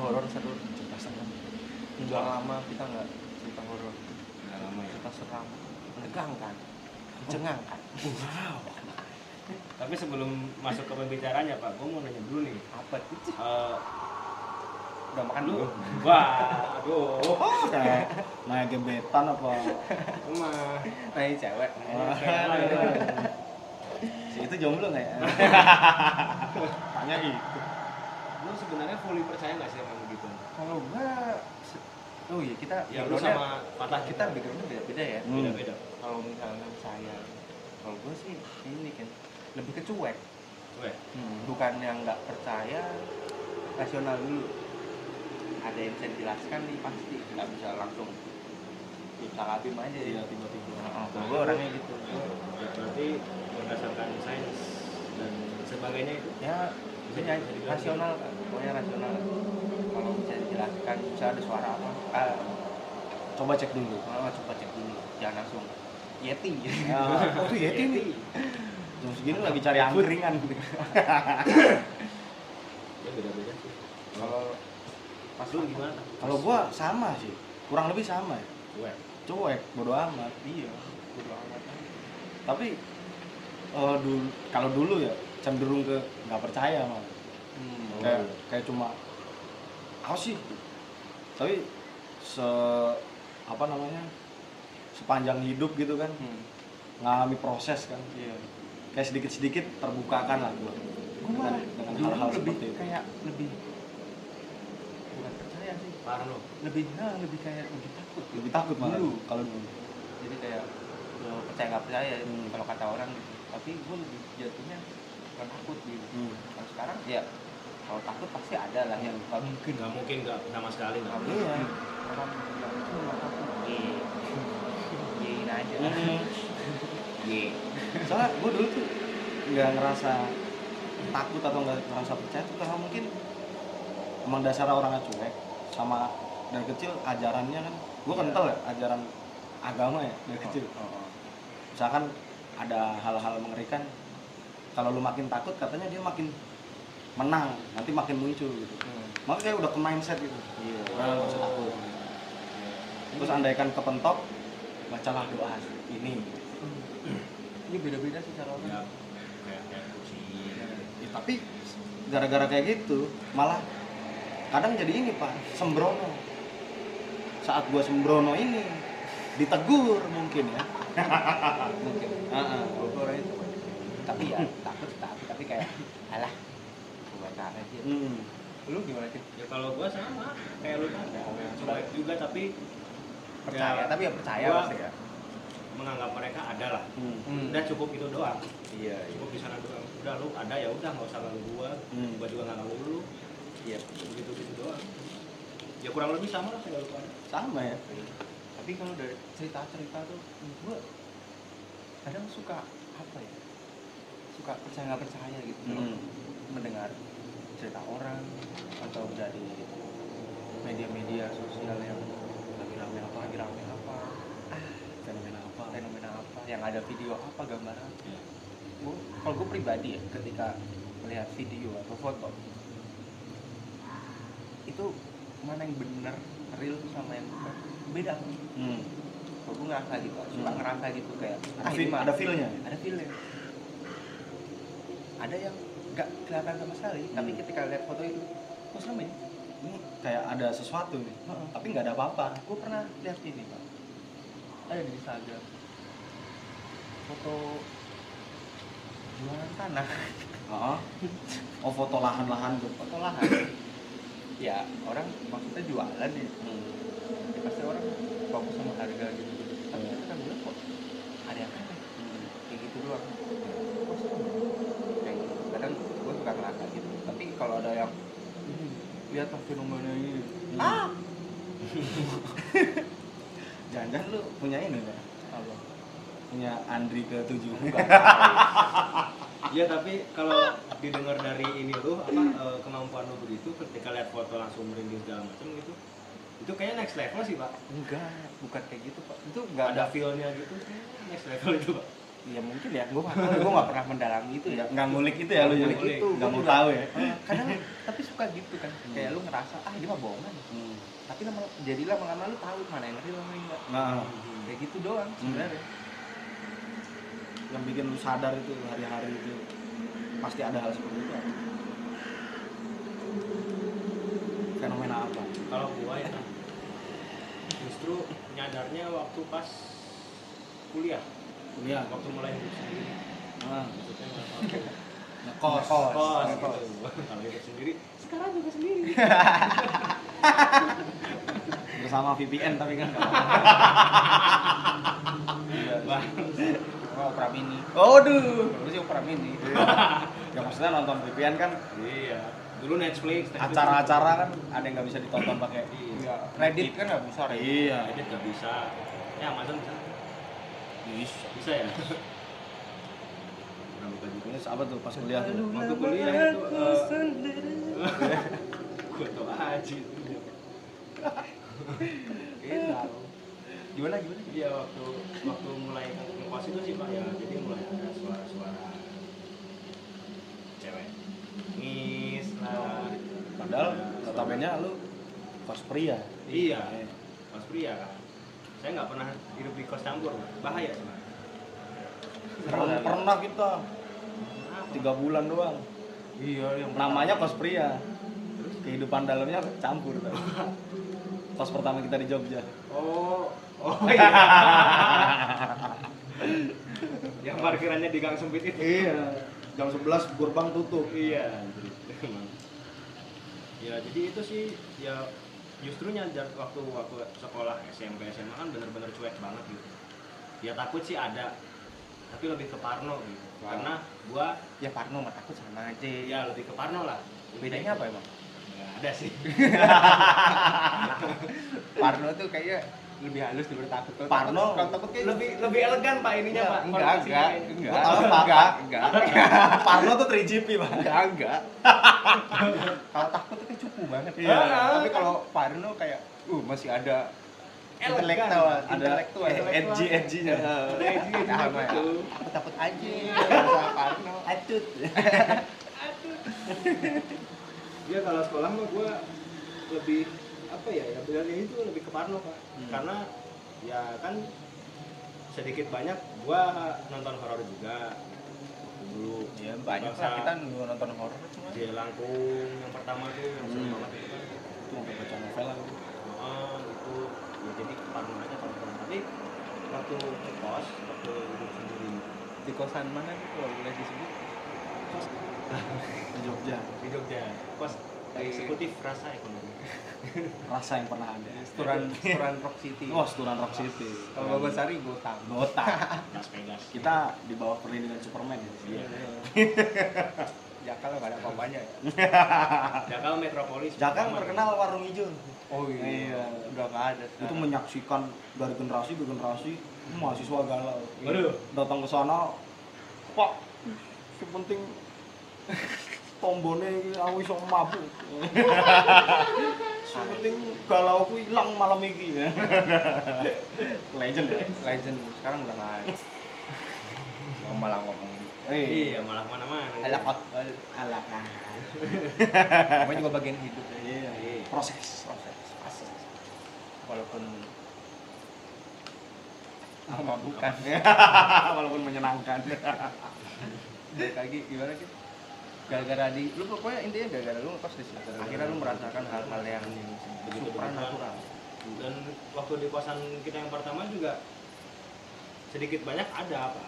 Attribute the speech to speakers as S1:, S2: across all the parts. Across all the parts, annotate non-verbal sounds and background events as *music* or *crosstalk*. S1: horor seru cerita serem menjual lama kita nggak cerita horor
S2: Udah lama ya.
S1: cerita seram menegangkan mencengangkan
S2: Tapi sebelum masuk ke pembicaranya Pak, gue mau nanya dulu nih.
S1: apa itu
S2: Eh,
S1: udah makan dulu
S2: wah, aduh,
S3: kayak main gebetan apa
S2: emang.
S1: nah ini cewek
S3: si itu jomblo nggak ya tanya gitu
S2: Lu sebenarnya fully percaya nggak sih emang begitu?
S1: kalau gua se- oh iya kita
S2: Ya lu
S1: backgroundnya-
S2: sama patah
S1: kita backgroundnya beda beda ya
S3: Hmm.
S2: beda-beda.
S1: kalau misalnya saya kalau gue sih ini kan lebih ke cuek
S2: Weh,
S1: bukan yang nggak percaya rasional dulu ada yang bisa dijelaskan nih pasti nggak bisa langsung kita labim aja ya
S2: iya tiba-tiba.
S1: Nah, kalau gue orangnya gitu
S2: Ya, berarti berdasarkan sains dan sebagainya itu
S1: ya bisa rasional kan pokoknya rasional kalau bisa dijelaskan bisa ada suara apa ah,
S3: coba cek dulu
S1: ah, coba cek dulu jangan langsung yeti
S3: ya,
S1: Ah.
S3: oh itu Yeti nih jam segini lagi cari angkringan
S2: ya beda-beda sih.
S1: *laughs* kalau pas
S2: Lu
S1: makan.
S2: gimana?
S3: kalau gua sama sih kurang lebih sama ya
S2: Weh,
S3: cuek bodo amat
S1: iya bodo amat aja.
S3: tapi eh, dulu- kalau dulu ya cenderung ke nggak percaya malah
S1: Hmm.
S2: Oh,
S3: kayak
S2: iya.
S3: kayak cuma apa sih tapi se apa namanya sepanjang hidup gitu kan
S1: Hmm.
S3: ngalami proses kan
S1: Iya.
S3: kayak sedikit sedikit terbukakan lah gua dengan, dengan
S1: Dulu
S3: hal-hal
S1: lebih
S3: seperti itu
S1: kayak lebih bukan percaya sih,
S2: Parno.
S1: lebih nah, lebih kayak lebih takut.
S3: lebih takut malah
S1: Dulu.
S3: kalau dulu
S1: Jadi kayak ya, percaya nggak percaya
S3: Hmm.
S1: kalau kata orang gitu. Tapi gue lebih jatuhnya bukan takut gitu.
S3: Hmm.
S1: Kalau sekarang ya kalau takut pasti ada lah yang nggak mungkin
S2: Nggak mungkin nggak sama sekali nggak.
S1: Nggak
S2: mungkin.
S3: Iya.
S1: mungkin. Orang bilang itu nggak takut. Iya. Iyain aja.
S3: Mm-hmm.
S1: Iya.
S3: Hmm. soalnya gue dulu tuh nggak ngerasa takut atau nggak ngerasa percaya tuh karena mungkin emang dasar orangnya cuek sama dari kecil ajarannya kan gue
S1: Iya.
S3: kental ya ajaran agama ya dari kecil
S1: Oh, oh, oh.
S3: misalkan ada hal-hal mengerikan kalau lu makin takut katanya dia makin menang nanti makin muncul gitu
S1: Hmm.
S3: makanya kayak udah ke mindset gitu
S1: Iya.
S3: udah nggak usah takut terus andaikan kepentok bacalah doa ini
S1: Ini beda-beda sih cara orang.
S2: Ya, kayak kayak kursi.
S3: Ya, tapi gara-gara kayak gitu malah kadang jadi ini pak sembrono saat gua sembrono ini ditegur mungkin ya
S1: Mungkin.
S3: Heeh.
S1: Gue orang itu tapi ya takut tapi tapi kayak alah gue aja
S3: Hmm.
S1: lu gimana sih
S2: Ya kalau gua sama kayak lu kan.
S1: ya?
S2: Cuek juga tapi
S1: percaya
S2: Ya,
S1: tapi ya percaya
S2: gua-
S1: pasti ya
S2: menganggap mereka ada lah.
S3: Hmm.
S2: Udah cukup itu doang.
S1: iya
S2: Cukup di sana doang. Udah lu ada ya udah nggak usah ganggu gua.
S3: Hmm.
S2: Gua juga nggak ganggu lu.
S1: iya
S2: Begitu gitu doang. Ya kurang lebih sama lah kayak lu kan.
S3: sama ya
S1: tapi kalau dari cerita cerita tuh gue kadang suka apa ya suka percaya nggak percaya gitu Kalau
S3: Hmm.
S1: mendengar cerita orang atau dari media-media sosial yang lagi rame apa lagi rame apa
S3: fenomena apa
S1: fenomena apa yang ada video apa gambar apa Gua- kalau gue pribadi ya ketika melihat video atau foto itu mana yang bener real sama yang bukan beda
S3: Hmm.
S1: kalau gue ngerasa gitu suka
S3: Hmm.
S1: ngerasa gitu kayak
S3: ada,
S1: ah,
S3: feel,
S1: ini mah
S3: ada feelnya
S1: ada feelnya ada yang nggak kelihatan sama sekali tapi
S3: Hmm.
S1: ketika lihat foto itu kok serem ya? ini
S3: ini kayak ada sesuatu nih
S1: Heeh.
S3: tapi nggak ada apa-apa
S1: gue pernah lihat ini pak ada di Instagram foto jualan tanah
S3: Heeh. oh foto lahan-lahan tuh
S1: foto lahan ya orang maksudnya jualan ya
S3: Hmm.
S1: Ya, pasti orang fokus sama harga gitu tapi kita bilang kok ada yang aneh
S3: Hmm.
S1: kayak gitu doang Kok serem ya? kayak gitu kadang gue suka ngerasa gitu tapi kalau ada yang "Hmm, lihatlah fenomena ini ah
S3: jangan-jangan lu punya ini pak
S1: apa
S3: punya Andri ke *laughs* tujuh
S2: Ya tapi *laughs* kalau didengar dari ini lu apa eh, kemampuan lu begitu ketika lihat foto langsung merinding segala macam gitu. Itu kayaknya next level sih, Pak.
S1: enggak bukan kayak gitu pak itu enggak
S2: Ada feel-nya gitu. Next level itu, Pak.
S1: ya mungkin ya gue gue nggak pernah mendalami itu ya
S3: nggak nggak ngulik itu ya lu
S1: Nggak
S3: ya
S1: ngulik itu.
S3: nggak mau tahu ya
S1: Eh, kadang tapi suka gitu kan kayak lu ngerasa ah dia mah bohongan
S3: Hmm.
S1: tapi lama jadilah lama-lama lu tahu mana yang real mana yang enggak
S3: nah
S2: Hmm.
S1: kayak gitu doang sebenarnya
S3: yang bikin lu sadar itu hari-hari itu pasti ada hal seperti itu apa? fenomena apa
S2: kalau gua ya justru nyadarnya waktu pas kuliah Nah,
S3: iya
S2: waktu mulai hidup sendiri
S3: nah,
S2: maksudnya waktu
S1: Ngekos.
S3: kos
S2: kos
S1: Ngekos.
S2: gitu kalau hidup sendiri
S1: sekarang juga sendiri
S3: bersama VPN tapi kan nggak *laughs*
S2: Wah,
S1: mau opera mini
S3: Oh, aduh, lu sih Prime ini. ya maksudnya nonton VPN kan
S2: iya dulu Netflix
S3: acara-acara kan ada yang nggak bisa ditonton pakai.
S2: iya
S1: Reddit kan nggak bisa Reddit
S3: Iya,
S2: Reddit nggak bisa ya Amazon bisa
S3: bisa.
S2: bisa ya Nah, bukan juga.
S3: Terus apa tuh pas kuliah tuh?
S2: ya. waktu kuliah itu eh, gua tau aja itu
S1: gimana gimana
S2: Iya waktu waktu mulai ngekos itu sih pak ya jadi mulai ada suara-suara cewek ngis lah
S3: Padahal notabene lu kos pria.
S2: iya mas pria kan saya nggak pernah hidup di kos campur Pak. bahaya sih Pak.
S3: Pernah, pernah kita
S2: Kenapa?
S3: tiga bulan doang.
S1: iya yang
S3: Namanya kos pria. Kehidupan dalamnya campur. Tau. Kos pertama kita di Jogja.
S2: oh oh iya *laughs* yang parkirannya di gang sempit itu
S3: Iya. Jam 11 gerbang tutup.
S2: iya emang. *laughs* ya jadi itu sih ya justru nyadar waktu waktu sekolah SMP SMA kan bener-bener cuek banget gitu ya takut sih ada tapi lebih ke Parno gitu
S1: Wow.
S2: karena gua
S1: ya Parno mah takut sama aja
S2: ya lebih ke Parno lah
S1: bedanya apa emang
S2: nggak ada
S1: *laughs*
S2: sih
S1: Parno tuh kayaknya lebih halus daripada takut Kalau
S3: Parno
S1: takut- kalau takut kayak
S2: lebih lebih elegan pak ininya Iya, pak
S1: Iya, enggak
S2: koneksinya.
S1: enggak enggak
S3: Gua tahu, Pak.
S1: enggak enggak
S3: *laughs* Parno tuh 3GP, Pak.
S1: enggak enggak kalau takut tuh kayak cupu banget
S3: Iya.
S1: tapi kalau Parno kayak uh masih ada
S2: Elegan.
S1: intelektual
S3: Ada
S1: intelektual
S3: edgy edgy-nya.
S2: Ada edgy, edgy
S1: Nah, Maya.
S2: gitu.
S1: takut takut aja sama Parno
S3: Iya, Acut.
S2: ya kalau sekolah mah gua lebih apa ya ya bilangnya itu lebih ke Parno pak karena ya kan sedikit banyak gua nonton horor juga dulu
S1: ya banyak lah kita nunggu nonton horor cuma
S2: di Langkung yang pertama tuh yang seru banget itu kan
S3: Hmm. Tuh sampai baca novel aku.
S2: oh, itu ya jadi ke Parno aja kalau kurang tapi waktu ke kos waktu hidup sendiri
S1: di kosan mana tuh kalau boleh disebut
S3: Iya,
S2: kos
S3: di Jogja.
S2: di Jogja kos
S1: Di-
S2: eksekutif rasa ekonomi
S3: Rasa yang pernah ada.
S1: restoran restoran Rock City
S3: Oh, Sturan Rock City.
S1: kalau Bapak Sari gue tahu
S3: Nota.
S2: Las Vegas
S3: Kita di bawah perlindungan Superman ya.
S2: Iya.
S1: *laughs* ya kalau nggak ada apa-apanya ya
S2: Jakal Metropolis
S3: Jakang
S2: pertama.
S3: terkenal warung hijau.
S1: oh
S3: Iya.
S1: udah nggak ada
S3: Itu
S1: sekarang.
S3: menyaksikan dari generasi ke generasi mahasiswa galau.
S2: Waduh.
S3: Datang ke sana, Pak, yang penting tombone iki aku iso
S1: *laughs*
S3: mabuk. Yang penting galau aku hilang malam ini. *laughs* Legend ya.
S1: legend sekarang udah nggak ada Nggak malah ngomong gitu.
S3: Eh,
S2: Iya, malah mana-mana.
S1: alakot
S3: alah.
S1: Namanya juga bagian hidup ya.
S3: Iya,
S2: Iya.
S3: proses.
S1: *laughs* Proses, proses. Walaupun apa bukan Ah,
S3: Walaupun menyenangkan.
S1: Balik lagi gimana sih? Gara-gara di lu pokoknya intinya gara-gara lu pas di situ. Akhirnya lu merasakan hal-hal yang
S2: Begitu
S1: supranatural.
S2: Dan waktu di kosan kita yang pertama juga sedikit banyak ada apa.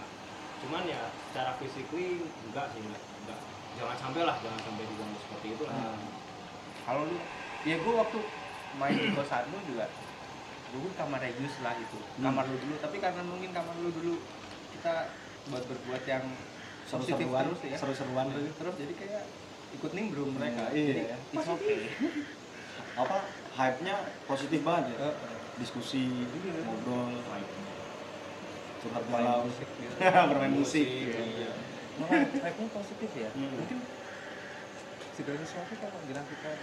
S2: Cuman ya secara physically enggak sih enggak. enggak. Jangan sampai lah, jangan sampai diganggu seperti itu lah.
S3: Nah,
S1: Hmm. Kalau lu ya gua waktu main di kosan lu juga dulu kamar Regius lah itu.
S3: Hmm.
S1: Kamar lu dulu tapi karena mungkin kamar lu dulu kita buat berbuat yang positif
S3: seru-seruan
S1: terus ya.
S3: seru-seruan
S1: terus terus jadi kayak ikut nimbrung mereka
S3: Iya,
S1: Jadi,
S3: iya.
S1: it's okay.
S3: apa hype-nya positif banget ya
S1: Eh,
S3: diskusi
S1: Iya.
S3: ngobrol curhat
S1: main
S3: galau
S1: musik gitu.
S3: *laughs* bermain musik
S2: Iya.
S1: malah vibe-nya positif ya
S3: Hmm.
S1: mungkin segala sesuatu kalau dilakukan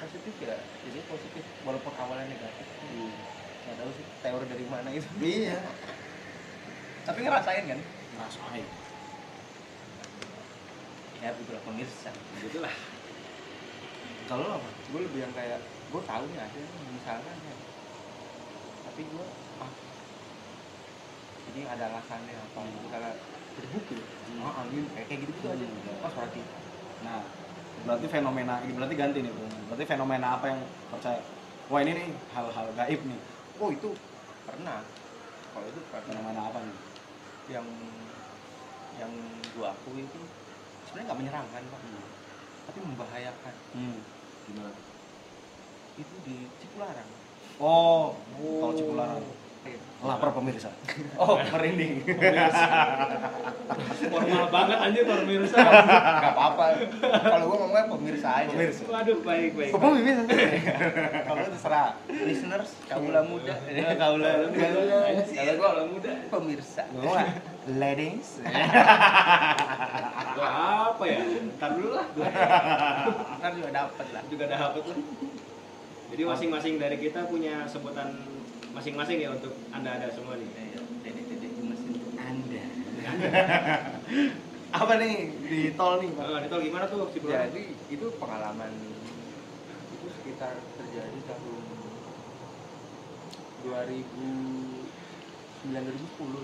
S1: positif ya jadi positif walaupun awalnya negatif nggak tahu sih teori dari mana itu
S3: iya
S1: tapi ngerasain kan
S3: ngerasain
S1: ya beberapa pemirsa
S2: gitulah
S3: kalau lo apa
S1: gue lebih yang kayak gue tahu nih ada nih, misalkan ya tapi gue ah ini ada alasannya apa
S3: Hmm.
S1: gitu karena terbukti oh angin kayak kayak gitu gitu aja
S3: Hmm.
S1: pas berarti
S3: nah berarti fenomena ini berarti ganti nih bro berarti fenomena apa yang percaya wah ini nih hal-hal gaib nih
S1: oh itu pernah kalau itu pernah
S3: fenomena apa nih
S1: yang yang gue aku itu sebenarnya nggak menyeramkan pak
S3: hmm.
S1: tapi membahayakan
S3: Hmm.
S2: gimana tuh?
S1: itu di Cipularang
S3: oh tol Cipularang
S1: Iya.
S3: lapar *laughs* pemirsa oh *laughs* merinding
S2: formal banget anjir pemirsa
S1: nggak apa-apa kalau gue ngomongnya pemirsa aja
S3: Pemirsa.
S2: waduh baik baik
S3: Kok bisa?
S1: kalau lu terserah listeners kaula muda
S3: Kaula
S2: Kalau- kalau gua orang muda
S1: pemirsa
S3: Lo nggak? Ladies.
S2: gua apa ya ntar dulu lah gua
S1: ntar juga dapet lah
S2: juga dapet lah jadi masing-masing dari kita punya sebutan masing-masing ya untuk anda ada semua nih
S1: dede-dede gemes itu
S3: Anda. *laughs* Apa nih di tol nih, Pak?
S2: Bang Adito Oh, gimana tuh si Bro?
S1: jadi itu pengalaman itu sekitar terjadi tahun 2009 2010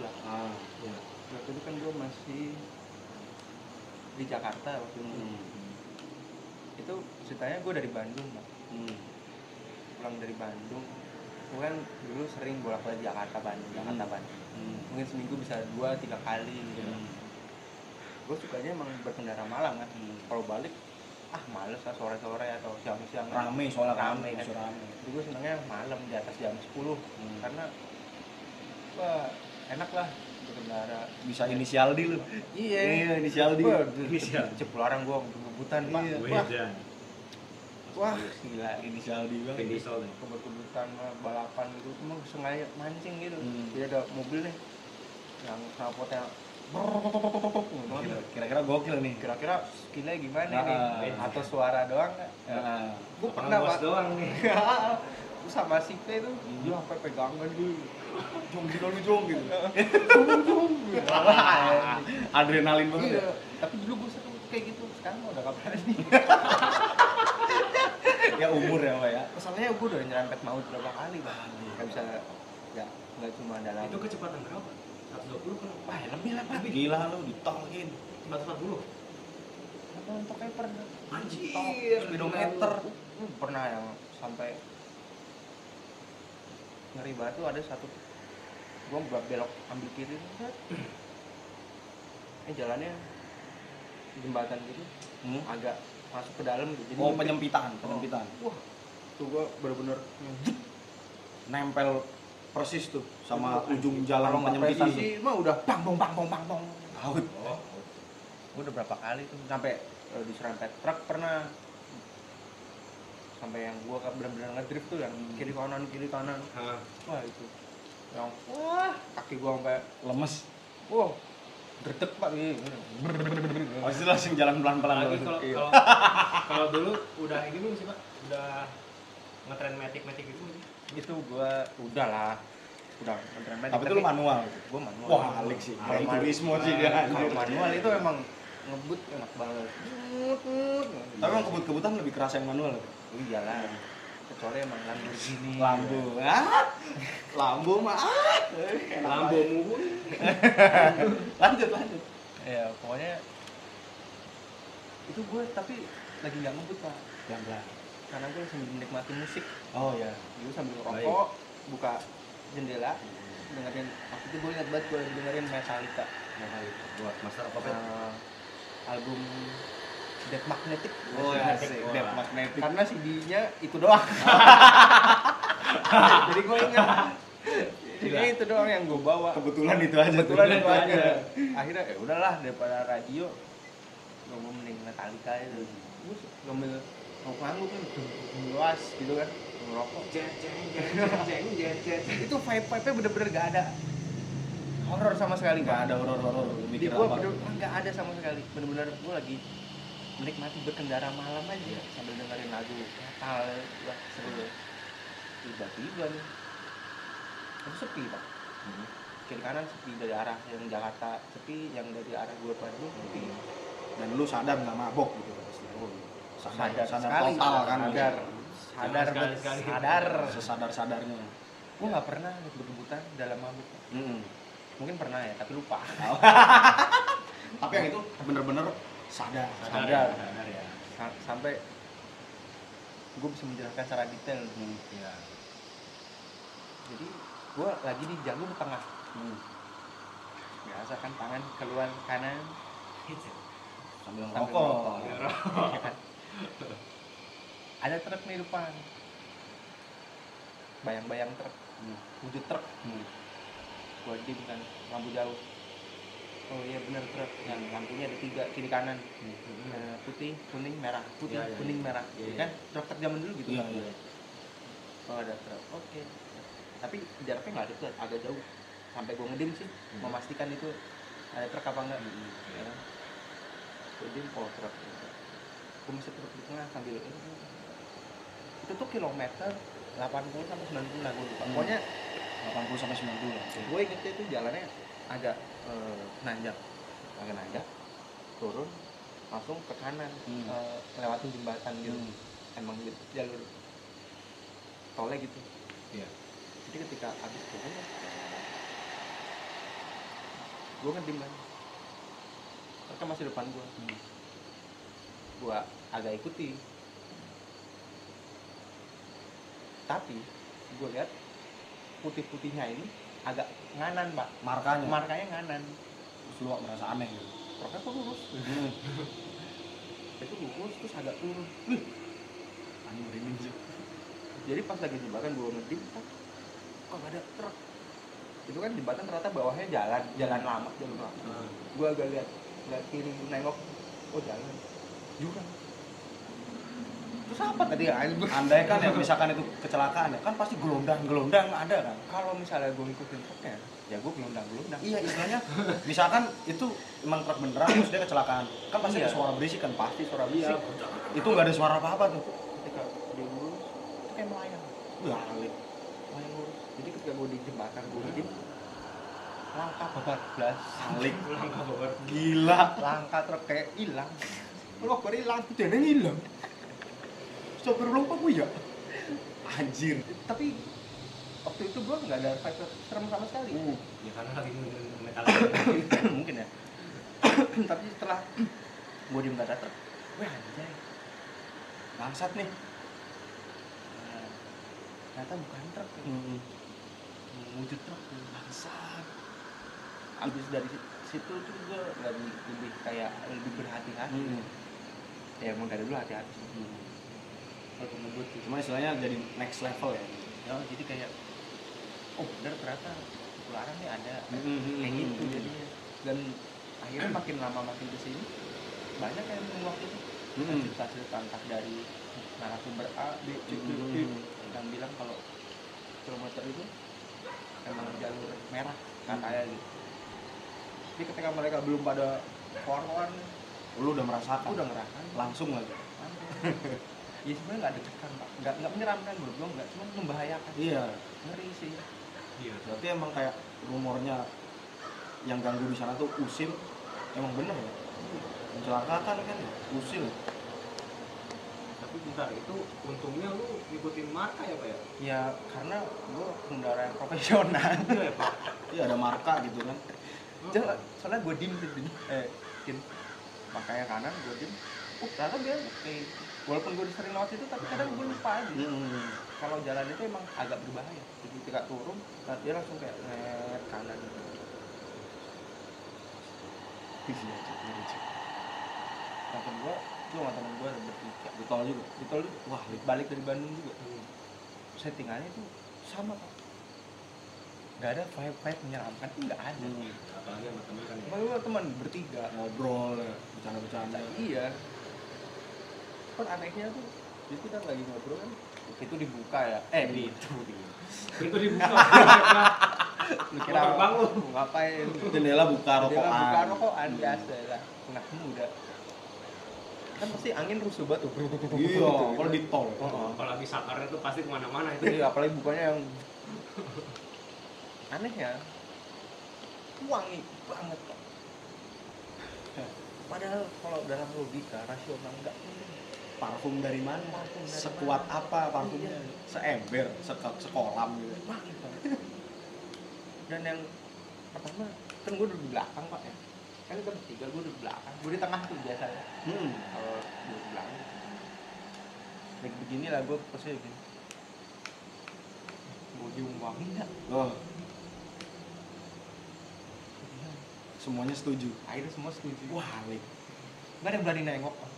S1: lah
S3: Ah, iya.
S1: waktu itu kan gue masih di Jakarta waktu itu
S3: Hmm.
S1: itu ceritanya gue dari Bandung Bang.
S3: Hmm.
S1: pulang dari Bandung gue kan dulu sering bolak balik Jakarta Bandung Jakarta
S3: Hmm.
S1: Bandung
S3: Hmm.
S1: mungkin seminggu bisa dua tiga kali gitu
S3: Hmm.
S1: gue sukanya emang berkendara malam kan
S3: Hmm.
S1: kalau balik ah males lah sore sore atau siang siang
S3: Rame soalnya
S1: Rame,
S3: rame,
S1: kan?
S3: masih rame.
S1: jadi gue senangnya malam di atas jam 10
S3: Hmm.
S1: karena wah enak lah berkendara
S3: Bisa inisial di lu.
S1: iya
S3: inisial di.
S2: Inisial.
S1: Cipularang gue kebut-kebutan pak
S3: Iya.
S1: wah,
S2: Wedan.
S1: wah gila
S3: Inisial di
S2: Vin
S3: banget.
S2: Diesel nih.
S1: kebut-kebutan lah, balapan gitu cuma sengaja mancing gitu
S3: Hmm.
S1: jadi ada mobil nih yang knalpotnya
S3: Gila, Kira-kira gokil nih.
S1: kira-kira skillnya gimana
S3: Ah.
S1: nih atau suara doang nggak
S3: Ah.
S1: gue
S2: Orang
S1: pernah
S2: bos
S1: pak
S2: doang nih.
S1: Terus sama si P itu
S3: Hmm.
S1: dia sampai pegangan gitu
S3: Jong gitu lu jong gitu.
S1: Ah, Wah,
S3: Adrenalin banget.
S1: iya.
S3: ya.
S1: tapi dulu gue sering kayak gitu sekarang mah udah kapan nih Iya.
S3: Ya umur ya, Pak ya.
S1: masalahnya gue udah nyerempet maut berapa kali bang nggak bisa ya nggak cuma dalam
S2: Itu kecepatan berapa? 120 kan?
S1: Ah,
S3: Wah,
S1: ya
S3: lebih lah, Pak. Gila lu ditolkin.
S2: 140.
S1: apa untuk kayak pernah
S2: Anjir,
S1: Iya, speedometer Hmm, pernah yang sampai ngeri banget tuh ada satu gue belok ambil kiri set. *clears throat* eh jalannya jembatan gitu
S3: Hmm?
S1: agak masuk ke dalam gitu jadi
S3: Oh,
S1: mungkin-
S3: penyempitan,
S1: Oh.
S3: penyempitan.
S1: wah tuh gue bener-bener
S3: Nempel persis tuh sama
S1: Aduh,
S3: ujung jalan
S1: kalau nggak
S3: penyempitan. tuh.
S1: presisi mah udah bang bang bang bang bang bang
S3: Out.
S2: Oh,
S1: gue udah berapa kali tuh sampai eh, diserempet truk pernah sampai yang gue bener-bener ngedrift tuh yang
S3: Hmm.
S1: kiri kanan kiri kanan
S2: Hah.
S1: wah itu yang wah kaki gua sampai
S3: Lemes.
S1: wah gerdek pak ini
S3: Oh, itu langsung jalan pelan-pelan
S2: Apalagi
S3: dulu.
S2: kalau
S1: Iya.
S2: *laughs* kalau kalau dulu udah ini belum sih, Pak? Udah ngetren metik-metik gitu belum sih?
S1: itu gua udah lah udah ngeremet
S3: Tapi itu lu manual.
S1: gua manual
S3: Wah, alik sih.
S1: Kalau
S3: Kayak
S1: manual- Ah,
S3: turismo sih dia.
S1: kalau
S3: anjir.
S1: manual itu emang ngebut enak banget
S3: Tapi emang kebut-kebutan lebih kerasa yang manual.
S1: iya lah kecuali emang Lamborghini
S3: Lambu. Ah. Lambu mah. Ah. Enak
S2: Lambo
S3: banget.
S2: muhu. nih.
S3: Lanjut, lanjut.
S1: ya pokoknya itu gua tapi lagi nggak ngebut pak
S3: Pelan-pelan.
S1: karena gua sambil menikmati musik
S3: Oh ya.
S1: dulu sambil ngerokok buka jendela dengerin waktu itu gue ingat banget gue dengerin Metallica
S2: Buat master apa
S3: Ah.
S1: Eh, album Death Magnetic
S3: Oh ya,
S2: asik.
S3: Death
S2: Wah.
S3: magnetic.
S1: karena CD-nya itu doang
S3: Ah.
S1: *laughs* jadi gue ingat jadi itu doang yang gue bawa
S3: Kebetulan itu aja.
S1: kebetulan
S3: tuh. Iya.
S1: itu
S2: aja.
S1: aja akhirnya ya udahlah daripada radio gue mau mending Metallica
S3: Hmm.
S1: itu gue ngambil mau nganggup kan luas gitu kan ngerokok
S2: Jeng jeng jeng jeng jeng jeng.
S1: itu vibe vibe bener-bener gak ada horor sama sekali
S3: Nggak
S1: gak
S3: ada horor-horor.
S1: di
S3: Mikir
S1: gua
S3: apa?
S1: bener nggak ada sama sekali bener-bener gua lagi menikmati berkendara malam aja Iya, sambil dengerin lagu metal ya, wah seru tiba-tiba nih itu sepi pak kiri kanan sepi dari arah yang Jakarta sepi yang dari arah gue Bandung sepi
S3: dan lu sadar nggak mabok gitu Oh, sadar, sadar,
S1: sekali,
S3: total kan
S1: sadar sadar
S2: Jangan
S1: bet-
S2: sekali-sekali.
S1: sadar
S3: sesadar sadarnya
S1: gue nggak pernah berdebutan dalam mabuk
S3: Mm-mm.
S1: mungkin pernah ya tapi lupa
S3: tapi yang itu bener-bener sadar
S1: Sadar.
S2: ya, sadar ya.
S1: Sa- sampai gue bisa menjelaskan secara detail
S3: Hmm,
S2: Iya.
S1: jadi gue lagi di jalur tengah
S3: hmm.
S1: biasa kan tangan keluar kanan
S3: sambil
S1: Sambil
S3: ngerokok
S1: ngerokok. ya kan? *laughs* ada truk nih depan bayang-bayang truk
S3: Hmm.
S1: wujud truk
S3: Hmm.
S1: gua dim kan lampu jauh oh iya bener truk yang lampunya ada tiga kiri kanan Eh, putih kuning merah putih
S2: Iya, iya,
S1: kuning merah
S2: Iya,
S1: Ya
S2: iya.
S1: kan truk truk zaman dulu gitu
S3: Iya,
S1: kan?
S3: iya.
S1: oh ada truk oke tapi jaraknya nggak ada tuh agak jauh sampai gua ngedim sih
S2: Hmm.
S1: memastikan itu ada truk apa enggak ya kan? Gua dim oh truk gue mesti truk di tengah sambil itu tuh kilometer 80 sampai 90 lah gue lupa
S3: Hmm.
S1: pokoknya
S3: 80 sampai 90 lah.
S1: gue ingetnya itu jalannya agak eh, nanjak agak nanjak turun langsung ke kanan
S3: Hmm.
S1: eh, lewatin jembatan gitu
S3: Hmm.
S1: emang gitu, jalur tolnya gitu
S2: Iya.
S1: jadi ketika habis turun gue ngedim kan mereka masih depan gue
S3: Hmm.
S1: gue agak ikuti tapi gue lihat putih-putihnya ini agak nganan pak
S3: markanya
S1: markanya nganan
S3: terus lu merasa aneh gitu
S1: truknya kok lurus
S3: Hmm.
S1: itu lurus terus agak turun
S3: aneh merinding sih
S1: jadi pas lagi jembatan gue ngedim kan kok gak ada truk itu kan jembatan ternyata bawahnya jalan jalan lama jalan lama gue agak lihat lihat kiri nengok oh jalan jurang terus apa tadi ya
S3: andai kan ya misalkan itu kecelakaan ya kan pasti gelondang gelondang ada kan
S1: kalau misalnya gue ngikutin truknya ya gue gelondang gelondang
S3: iya istilahnya misalkan itu emang truk beneran terus dia kecelakaan kan pasti
S1: Iya.
S3: ada suara berisik kan pasti suara
S2: Iya.
S3: berisik itu nggak ada suara apa apa tuh
S1: ketika dia lurus itu kayak melayang
S3: Wah, alit.
S1: melayang lurus jadi ketika gue di jembatan gue ngedim langkah 14
S3: Alik.
S2: Pulang ke Bogor.
S3: gila
S1: langkah truk kayak hilang lo kok hilang jadi hilang
S3: sopir lu kok ya anjir
S1: tapi waktu itu gue nggak ada vibe serem sama sekali
S3: uh
S2: Ya karena lagi nungguin metal.
S1: *clears throat* mungkin ya *clears throat* tapi setelah *clears throat* gue diem nggak ada truk wah anjay
S3: bangsat nih
S1: Nah, ternyata bukan truk ya. wujud truk
S3: bangsat
S1: abis dari si- situ tuh gue lebih lebih kayak lebih berhati-hati
S3: Hmm.
S1: ya emang dari dulu hati-hati sih. kalau pengebut gitu
S3: cuma istilahnya jadi next level ya
S1: ya jadi kayak oh bener ternyata larang nih ada kayak
S3: kayak
S1: gitu jadinya dan akhirnya makin lama makin kesini banyak yang menguak itu
S3: Hmm.
S1: cerita cerita entah dari narasumber A B C D E yang bilang kalau kilometer itu emang jalur merah katanya gitu jadi ketika mereka belum pada korban
S3: lu udah merasakan
S1: aku udah ngerasain
S3: langsung lagi
S1: *laughs* ya sebenarnya nggak deg-degan pak nggak nggak menyeramkan menurut gue nggak cuma membahayakan
S3: iya
S1: ngeri sih
S2: Iya.
S3: berarti emang kayak rumornya yang ganggu di sana tuh usil emang bener ya
S1: Iya.
S3: mencelakakan kan ya? usil
S2: Tapi bentar itu untungnya lu ngikutin marka ya pak ya?
S1: ya karena gue pengendara yang profesional
S2: Iya ya
S1: *laughs*
S2: pak.
S3: iya ada marka gitu kan
S1: Jangan, soalnya gue dim sih dim. Eh, dim. Makanya kanan gue dim. Uh, ternyata dia oke. Walaupun gue sering lewat itu, tapi kadang gue lupa aja.
S3: Hmm.
S1: Kalau jalan itu emang agak berbahaya. Jadi ketika turun, nah dia langsung kayak ngeret kanan gitu.
S3: Iya, Cuk, iya, Cuk.
S1: Temen gue, gue sama temen gue ada bertiga.
S3: di tol juga
S1: Di tol itu,
S3: wah li-
S1: balik dari Bandung juga.
S2: Hmm,
S1: Settingannya itu sama pak. Gak ada vibe-vibe menyeramkan, itu gak ada.
S3: hmm.
S2: Apalagi sama temen kan ya. *laughs*
S1: Makanya gue teman bertiga.
S3: ngobrol ya, bercanda-bercanda
S1: iya kan anehnya tuh jadi kita lagi ngobrol kan itu dibuka ya eh di itu di
S2: Pintu dibuka.
S1: lu
S2: *laughs* Motor bang lu.
S1: mau ngapain
S3: jendela buka
S1: Dia
S3: rokokan
S1: buka rokokan iya. biasa lah anak muda kan pasti angin rusuh banget tuh
S3: iya kalau di tol
S1: Oh, oh.
S2: Apalagi sakarnya tuh pasti kemana-mana itu.
S1: Iya, apalagi bukanya yang aneh ya wangi banget Pak. padahal kalau dalam logika rasional enggak
S3: parfum dari mana
S1: Parfum dari
S3: sekuat apa parfumnya
S1: Iya.
S3: seember seke- sekolam gitu
S1: wangi banget dan yang pertama kan gue duduk di belakang pak ya kan kita bertiga gue duduk di belakang gue di tengah tuh biasanya
S3: hmm.
S1: kalau gue di belakang kayak begini lah gue pasti begini mau cium wangi nggak
S3: loh semuanya setuju
S1: akhirnya semua setuju
S3: wah Lik.
S1: nggak ada yang berani nengok Pak.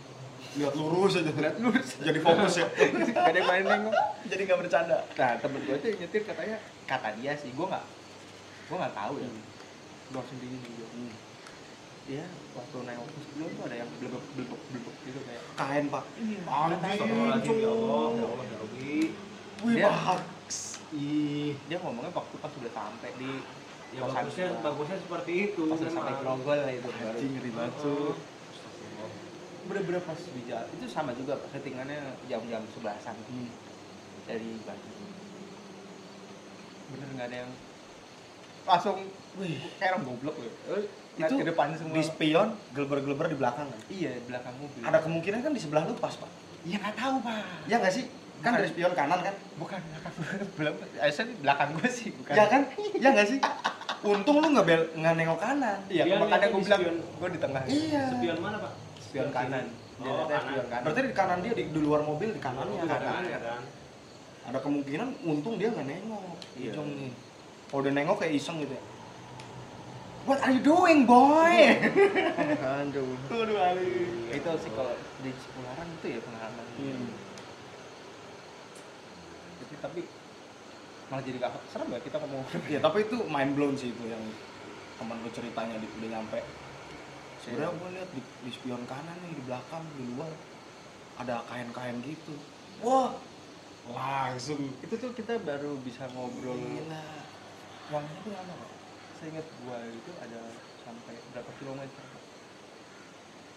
S3: lihat lurus aja
S1: lihat lurus
S3: jadi fokus ya
S1: nggak ada yang berani nengok
S3: jadi nggak bercanda
S1: nah temen gue tuh yang nyetir katanya kata dia sih gue nggak gue nggak tahu ya
S3: Hmm.
S1: gue sendiri juga
S3: Hmm.
S1: dia waktu nengok ke sebelum tuh ada yang blebek blebek blebek gitu kayak
S3: kain pak
S1: Iya.
S2: Astagfirullahaladzim, ya Allah, ya Allah, ya Robi.
S3: wih
S1: Dia-
S3: bahak
S2: Ih,
S1: dia ngomongnya waktu pas sudah sampai di
S2: ya
S1: Kosan
S2: bagusnya,
S1: gua.
S2: bagusnya seperti itu.
S1: pas udah sampai
S2: memang.
S1: grogol lah itu baru
S3: anjing ngeri banget
S2: Heeh.
S3: Cuk.
S1: Oh. bener-bener pas di jalan itu sama juga pas settingannya jam-jam sebelasan
S3: Hmm.
S1: dari Bandung bener nggak ada yang langsung
S3: wih
S1: kayak orang goblok ya itu
S3: Eh, Itu
S1: ke depan semua
S3: di spion geleber-geleber di belakang kan
S1: iya di belakang mobil
S3: ada kemungkinan kan di sebelah lu pas pak
S1: ya nggak tahu pak
S3: ya nggak sih kan
S1: Bukan.
S3: dari spion kanan kan
S1: bukan belakang *laughs* belum Aisyah di belakang gue sih bukan
S3: ya kan ya nggak sih untung lu nggak bel nggak nengok kanan
S1: iya
S2: Dia
S1: makanya
S2: lihatnya
S1: gue
S2: di
S1: bilang
S2: spion.
S1: gue di tengah
S3: iya
S2: Spion mana, Pak?
S1: spion kanan
S2: Oh,
S1: Dia ada
S2: kanan.
S1: spion kanan
S3: berarti di kanan dia di, di luar mobil di kanannya
S2: Kanan,
S3: kan?
S2: kanan.
S3: ada kemungkinan untung dia nggak nengok
S1: Iya.
S3: Ijong nih kalau udah nengok kayak iseng gitu ya what are you doing boy
S1: Iya.
S3: *laughs*
S1: aduh
S3: Waduh Ali
S1: itu sih kalau di Cipularang itu ya pengalaman
S3: Iya. Hmm.
S1: Jadi, tapi malah jadi gak serem ya kita ngomong *laughs*
S3: ya tapi itu mind blown sih itu yang temen lu ceritanya di udah nyampe sebenarnya
S1: Iya.
S3: gue lihat di, di spion kanan nih di belakang di luar ada kain-kain gitu wah langsung
S1: itu tuh kita baru bisa ngobrol
S3: gila
S1: uangnya tuh lama Pak. saya ingat gua itu ada sampai berapa kilometer Pak.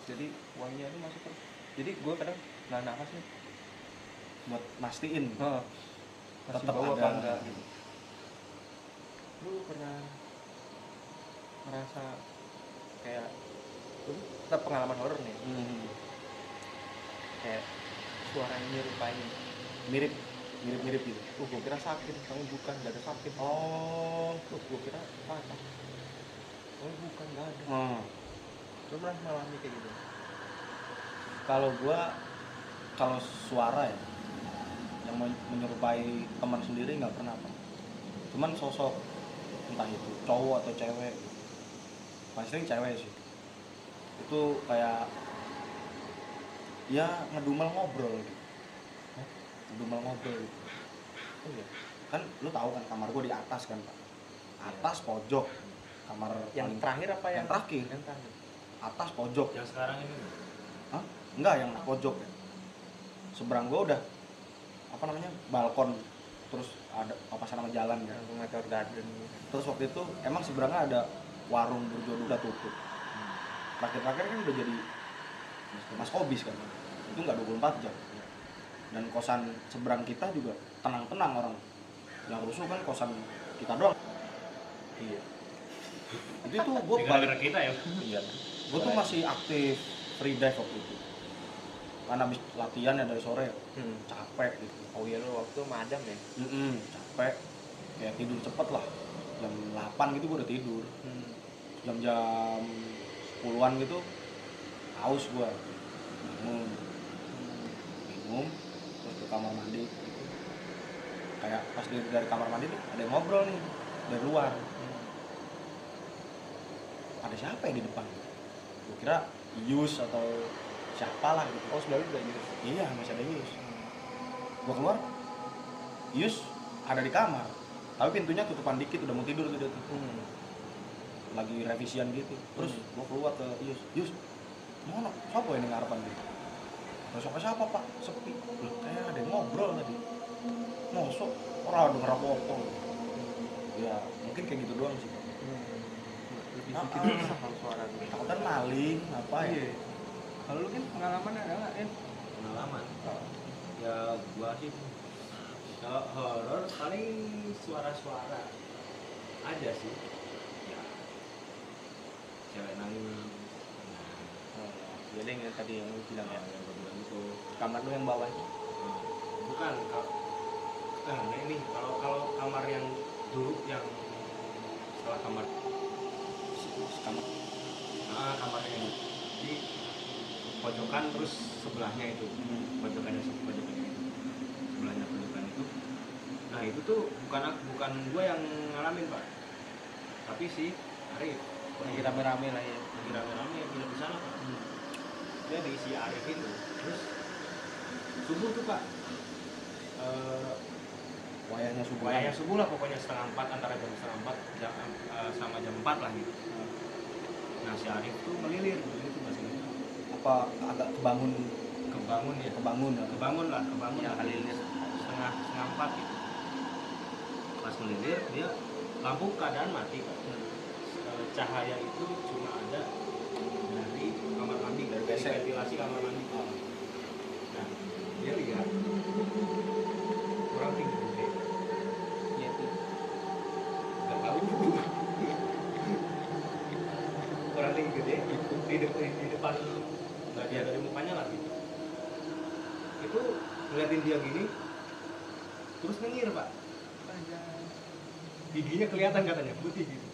S1: jadi uangnya itu masuk terus jadi gua kadang nggak nafas nih
S3: Hmm. buat mastiin
S1: Heeh. Masih
S3: tetap
S1: bawa
S3: ada
S1: apa enggak gitu. lu pernah merasa kayak lu tetap pengalaman horor nih
S3: Hmm,
S1: kayak suaranya nyerupain
S3: mirip mirip mirip gitu
S1: uh gua kira sakit kamu bukan gak ada sakit
S3: oh
S1: Tuh, gue kira patah. Oh, bukan gak ada.
S3: hmm.
S1: Lu pernah mengalami kayak gitu?
S3: kalau gua kalau suara ya yang men- menyerupai teman sendiri nggak pernah Pak. cuman sosok entah itu cowok atau cewek paling sering cewek sih itu kayak ya ngedumel ngobrol gitu ngedumel ngobrol gitu.
S1: Oh iya.
S3: kan lu tahu kan kamar gua di atas kan pak atas pojok kamar
S1: Yang
S3: paling-
S1: terakhir apa yang?
S3: yang terakhir
S1: Yang terakhir.
S3: atas pojok
S2: Yang sekarang ini.
S3: Hah? Enggak, yang pojok ya. Seberang gua udah apa namanya? balkon. Terus ada apa sama jalan ya.
S1: Yang Meteor Garden.
S3: Terus waktu itu emang seberangnya ada warung berjodoh udah tutup. Terakhir-terakhir kan udah jadi Mas Kobis kan. Itu enggak 24 jam. Dan kosan seberang kita juga tenang-tenang orang. Yang rusuh kan kosan kita doang.
S1: Iya.
S3: Itu tuh gua
S2: Di
S3: balik
S2: gara-gara kita ya.
S3: Iya. Gue tuh masih aktif free dive waktu itu. Karena habis latihan ya dari sore ya,
S1: Hmm.
S3: capek gitu.
S1: Oh iya lu waktu madam ya?
S3: Mm-mm, capek. Kayak tidur cepet lah. Jam 8 gitu gue udah tidur.
S1: Hmm.
S3: Jam-jam 10-an gitu haus gue. Minum, minum, terus ke kamar mandi. gitu. Kayak pas dari, dari kamar mandi tuh ada yang ngobrol nih dari luar. Ada siapa yang di depan? Gue kira Yus atau siapalah gitu.
S1: Oh sebelah lu udah gitu.
S3: Iya masih ada Yus. Gua keluar, Yus ada di kamar. Tapi pintunya tutupan dikit, udah mau tidur tuh dia tuh.
S1: Hmm.
S3: Lagi revisian gitu. Terus
S1: Hmm.
S3: gua keluar ke Yus, Yus mana? Siapa ini ngarepan gitu? Besok siapa pak? Sepi. Loh, kayak ada yang ngobrol tadi. Mosok orang ada ngerapopo. Ya mungkin kayak gitu doang sih.
S1: Lebih
S3: Ah,
S1: sedikit
S3: ah.
S1: rusak kalau suara lu.
S3: Takutnya maling apa ya?
S1: Iya. Kalau lu kan pengalaman ada nggak kan?
S2: Pengalaman. Ya gua sih kalau horor paling suara-suara aja sih. Ya, cewek nangis
S3: jadi yang "Hmm, iya, tadi yang lu bilang
S2: nah,
S3: ya
S2: yang gue bilang itu
S3: kamar lu yang bawah itu
S2: nah, bukan kalau eh, nah ini kalau kalau kamar yang dulu yang setelah kamar
S3: kamar
S2: nah kamarnya ini di pojokan terus sebelahnya itu pojokannya pojokannya itu sebelahnya pojokan itu nah itu tuh bukan bukan gue yang ngalamin pak tapi si Arif
S1: lagi rame-rame lah ya
S2: lagi rame-rame yang bilang di sana pak dari si Arif itu terus subuh tuh pak Eh,
S3: wayahnya subuh
S2: Wayangnya subuh lah pokoknya setengah empat antara jam setengah empat jam, eh, sama jam empat lah gitu. Nah si Arif tuh melilir, melilir tuh masih
S3: apa agak kebangun
S2: kebangun ya,
S3: kebangun *laughs* ya
S2: kebangun lah, kebangun
S1: yang
S2: lah.
S1: kali lihat
S2: Setengah setengah empat gitu. Pas melilir dia lampu keadaan mati kan. Eh, Cahaya itu cuma ada dari kamar mandi, dari
S3: Dari WC.
S2: ventilasi kamar mandi. Nah dia lihat orang tinggi gede, Iya,
S1: ya itu
S2: nggak *laughs* tahu orang tinggi gede itu di, de- di, di depan bagian dari mukanya lah gitu itu ngeliatin dia gini terus nengir pak giginya kelihatan katanya putih gitu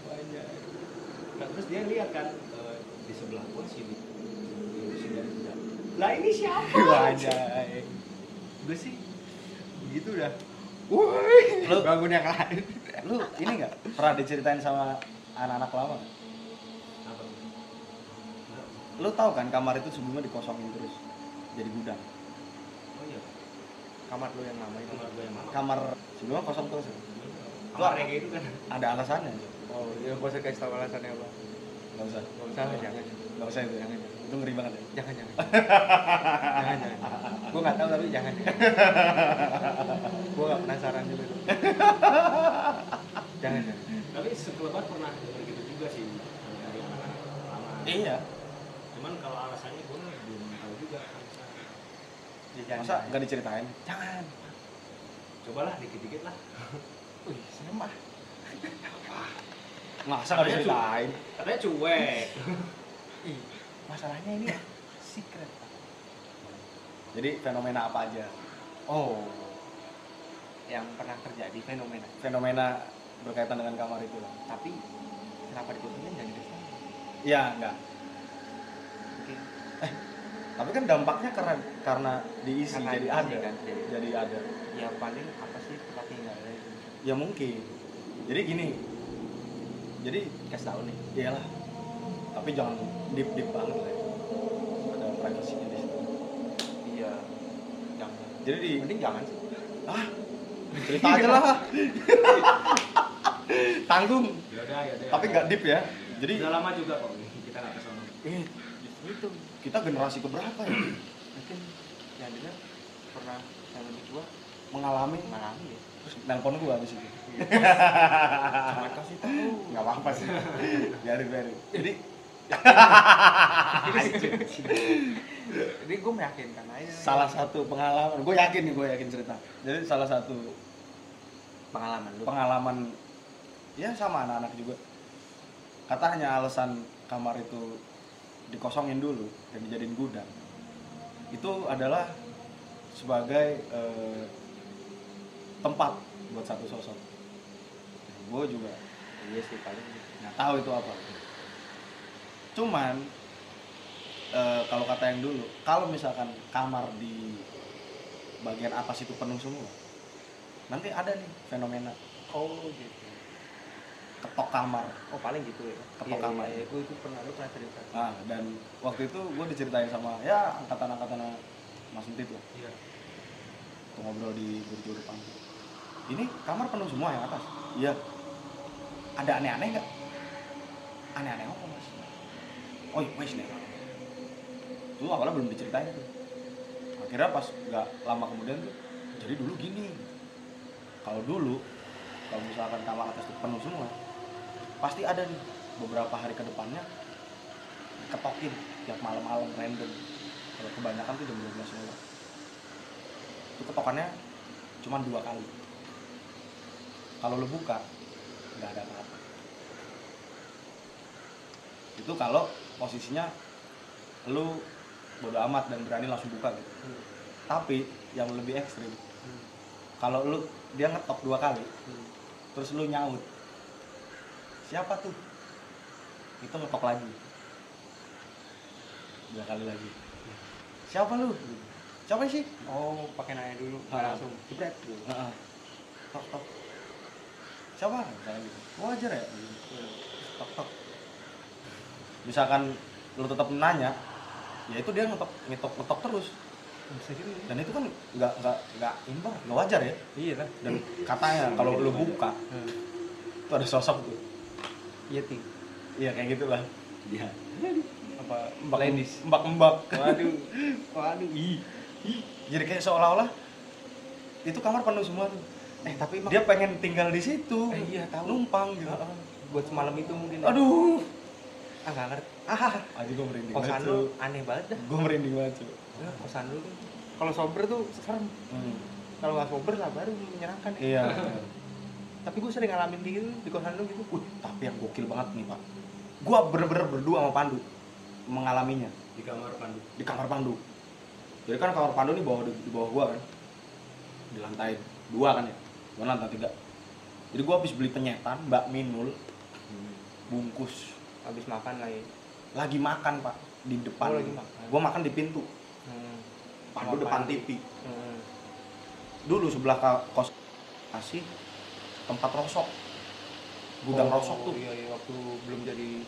S2: nah terus dia lihat kan eh, di sebelah pun sini Di sini ada jejak. lah ini siapa *laughs*
S1: Wajah.
S3: eh.
S1: Gue sih gitu dah. Woi,
S3: Lu-
S1: bangun yang lain.
S3: lu ini nggak pernah diceritain sama anak-anak lama
S2: Apa? Enggak.
S3: lu tahu kan kamar itu sebelumnya dikosongin terus jadi gudang
S2: oh iya
S1: Kamar lu yang lama itu.
S2: kamar gue yang mana
S3: kamar sebelumnya kosong terus ya?
S2: kamar kayak gitu kan
S3: ada alasannya
S1: Oh, iya gua usah kasih tau alasannya apa.
S3: nggak usah
S1: Gak usah,
S2: Oh.
S1: jangan.
S3: nggak usah itu ya
S1: Jangan,
S3: itu ngeri banget ya
S1: jangan. Jangan, jangan. jangan, jangan. Gua gak tahu tapi jangan. gua gak penasaran juga. tuh. jangan, jangan.
S2: tapi sekelebat pernah dengar gitu juga sih dari anak-anak lama
S3: iya
S2: cuman kalau alasannya gue belum tahu juga alasannya.
S1: Ya, jangan.
S3: masa nggak diceritain
S1: Jangan.
S2: cobalah dikit-dikit lah
S1: Wih, ah. saya mah.
S2: Katanya
S3: masa nggak
S2: cu-
S3: diceritain
S2: katanya cuek
S1: Ih, masalahnya ini secret.
S3: jadi fenomena apa aja
S1: Oh, yang pernah terjadi fenomena.
S3: fenomena berkaitan dengan kamar itu lah
S1: Tapi kenapa ditutupi nggak ditutupi?
S3: iya enggak
S1: Oke.
S3: tapi kan dampaknya karena karena diisi
S1: Karena
S3: jadi
S1: diisi
S3: ada
S1: kan, jadi-
S3: jadi ada
S1: Ya paling apa sih tempat tinggalnya itu?
S3: ya mungkin jadi gini jadi
S1: Kasih tahu nih.
S3: iyalah tapi jangan deep deep banget lah ya. ada privasinya di situ
S1: Iya. Jangan.
S3: jadi di
S1: Mending jangan sih.
S3: ah cerita aja lah *laughs* tanggung
S2: yaudah yaudah
S3: tapi nggak deep ya jadi
S2: udah lama juga kok kita nggak kesana
S3: eh,
S1: Itu
S3: kita generasi keberapa ya
S1: mungkin yang dengar pernah yang lebih tua
S3: mengalami
S1: mengalami
S3: *laughs*
S1: ya.
S3: terus nelpon gua habis itu
S1: Jangan kasih tahu.
S3: nggak apa apa sih biarin biarin jadi Ah, iya.
S1: Jadi gue meyakinkan aja.
S3: salah satu pengalaman gue yakin nih gue yakin cerita jadi salah satu
S1: pengalaman lu.
S3: pengalaman ya sama anak-anak juga katanya alasan kamar itu dikosongin dulu dan dijadiin gudang itu adalah sebagai eh, tempat buat satu sosok gue juga
S1: Iya sih paling.
S3: nggak tahu itu apa cuman eh, kalau kata yang dulu kalau misalkan kamar di bagian atas itu penuh semua nanti ada nih fenomena
S1: Oh gitu.
S3: ketok kamar
S1: Oh paling gitu ya.
S3: Ketok kamar.
S1: Iya, gue itu pernah lu pernah cerita.
S3: nah dan waktu itu gue diceritain sama ya angkatan-angkatan Mas Entit lah
S2: iya
S3: Tuh ngobrol di burjo depan ini kamar penuh semua yang atas iya ada aneh-aneh nggak aneh-aneh apa mas oh iya wes nih dulu awalnya belum diceritain tuh akhirnya pas nggak lama kemudian tuh jadi dulu gini kalau dulu kalau misalkan kamar atas itu penuh semua pasti ada nih beberapa hari ke depannya ketokin tiap malam-malam random kalau kebanyakan tuh jam 12 malam itu ketokannya cuma dua kali kalau lu buka nggak ada apa-apa itu kalau posisinya lu bodo amat dan berani langsung buka gitu
S1: Hmm.
S3: tapi yang lebih ekstrim kalau lu dia ngetop dua kali
S1: Hmm.
S3: terus lu nyaut siapa tuh itu ngetok lagi dua kali lagi
S1: Hmm.
S3: siapa lu siapa sih
S1: oh pakai nanya dulu nggak
S3: Ah.
S1: langsung jebret gitu
S3: Heeh. tok tok siapa misalnya gitu wajar ya
S1: Hmm.
S3: tok tok misalkan lu tetap nanya ya itu dia ngetok ngetok ngetok terus
S1: bisa gitu ya
S3: dan itu kan nggak nggak nggak imbang nggak wajar ya
S1: iya lah
S3: dan katanya kalau lu buka itu ada sosok tuh
S1: iya ting
S3: Hmm. iya kayak gitulah
S2: Iya.
S1: apa
S3: mbak
S1: ladies
S3: mbak mbak
S1: waduh waduh ih
S3: jadi kayak seolah-olah itu kamar penuh semua tuh
S1: eh tapi emang
S3: dia pengen tinggal di situ
S1: Eh, iya, tahu.
S3: numpang gitu
S1: Heeh. buat semalam itu mungkin ya.
S3: aduh
S1: ah nggak ngerti
S3: ah aja gue merinding
S1: kosan
S3: banget
S1: lu
S3: tuh
S1: aneh banget dah
S3: gue merinding banget tuh
S1: Ya, kosan lu tuh kalau sober tuh serem kalau nggak sober lah baru menyenangkan ya.
S3: iya
S1: tapi gue sering ngalamin di gitu di kosan lu gitu
S3: Wih, tapi yang gokil banget nih pak gue bener-bener berdua sama Pandu mengalaminya
S2: Di kamar Pandu.
S3: di kamar Pandu jadi kan kamar Pandu ini bawah di, di bawah gua kan di lantai dua kan ya gua lantai tiga jadi gua habis beli penyetan mbak Minul bungkus
S1: habis makan lah ya
S3: lagi makan pak di depan
S1: Oh, lagi makan.
S3: gua makan di pintu
S1: Hmm.
S3: Pandu
S1: Sama
S3: depan
S1: Pandu.
S3: TV
S1: Hmm.
S3: dulu sebelah ka- kos kasih tempat rosok gudang
S1: Oh,
S3: rosok tuh
S1: iya iya waktu belum jadi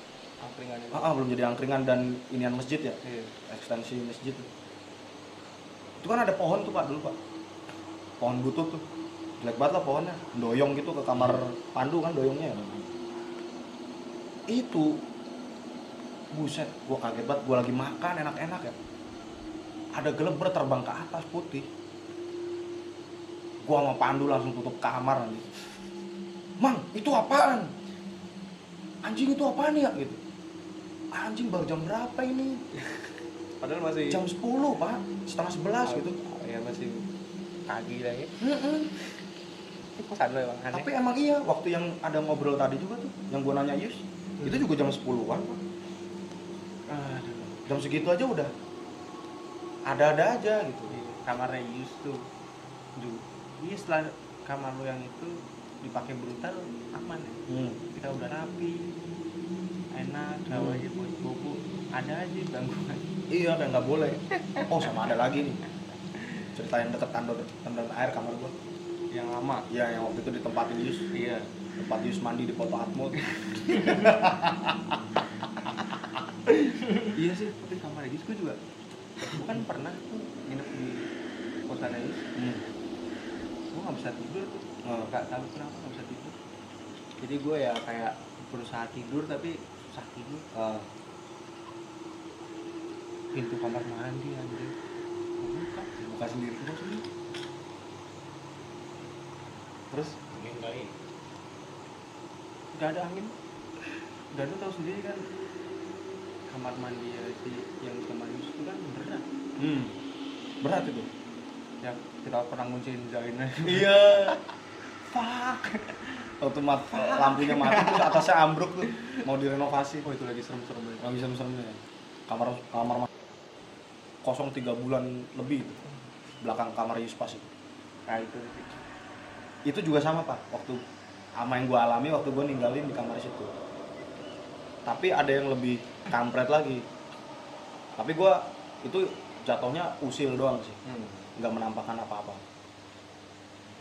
S1: angkringan itu
S3: Ah, ah, belum jadi angkringan dan inian masjid ya
S1: iya
S3: ekstensi masjid tuh. itu kan ada pohon tuh pak dulu pak pohon butut tuh jelek banget lah pohonnya doyong gitu ke kamar pandu kan doyongnya ya itu buset gua kaget banget gua lagi makan enak-enak ya ada geleber terbang ke atas putih gua sama pandu langsung tutup kamar anjing mang itu apaan anjing itu apaan ya gitu anjing baru jam berapa ini
S1: padahal masih
S3: jam 10 pak setengah 11 gitu
S1: ya masih pagi lah ya
S3: Mm-mm.
S1: itu kosan lu emang aneh
S3: tapi emang iya waktu yang ada ngobrol tadi juga tuh yang gua nanya Yus itu juga jam 10-an Pak.
S1: Aduh.
S3: jam segitu aja udah ada-ada aja gitu
S1: Iya, kamarnya Yus tuh Ju. Iya setelah kamar lu yang itu dipakai brutal aman ya.
S3: hmm.
S1: Kita udah rapi enak kalau aja buat bobo ada aja gangguan
S3: iya kayak nggak boleh oh sama ada lagi nih cerita yang deket tandon tandon air kamar gua
S1: yang lama
S3: iya yang waktu itu ditempatin Yus
S1: iya
S3: tempat Yus mandi di foto Atmo
S1: iya sih tapi kamar Yus gue juga bukan pernah tuh nginep di kosan Yus
S3: hmm.
S1: gue nggak bisa tidur tuh
S3: Oh.
S1: nggak tahu kenapa nggak bisa tidur jadi gue ya kayak berusaha tidur tapi susah tidur
S3: Ah,
S1: pintu kamar mandi anjir Gua buka
S3: buka sendiri
S1: gua sendiri
S3: terus
S2: Angin kali.
S1: nggak ada angin dan lu tahu sendiri kan kamar mandi ya, si yang kamar Yus itu kan berat
S3: hmm. berat itu
S1: ya kita pernah ngunciin Zainnya *laughs*
S3: iya fuck waktu mat- lampunya mati terus atasnya ambruk tuh mau direnovasi
S1: oh itu lagi serem-serem banget
S3: nggak bisa seremnya kamar kamar mas- kosong tiga bulan lebih itu. belakang kamar Yuspas itu
S1: nah itu
S3: itu juga sama pak waktu sama yang gua alami waktu gua ninggalin di kamar situ tapi ada yang lebih kampret lagi tapi gua itu jatuhnya usil doang sih
S1: hmm.
S3: nggak menampakkan apa-apa.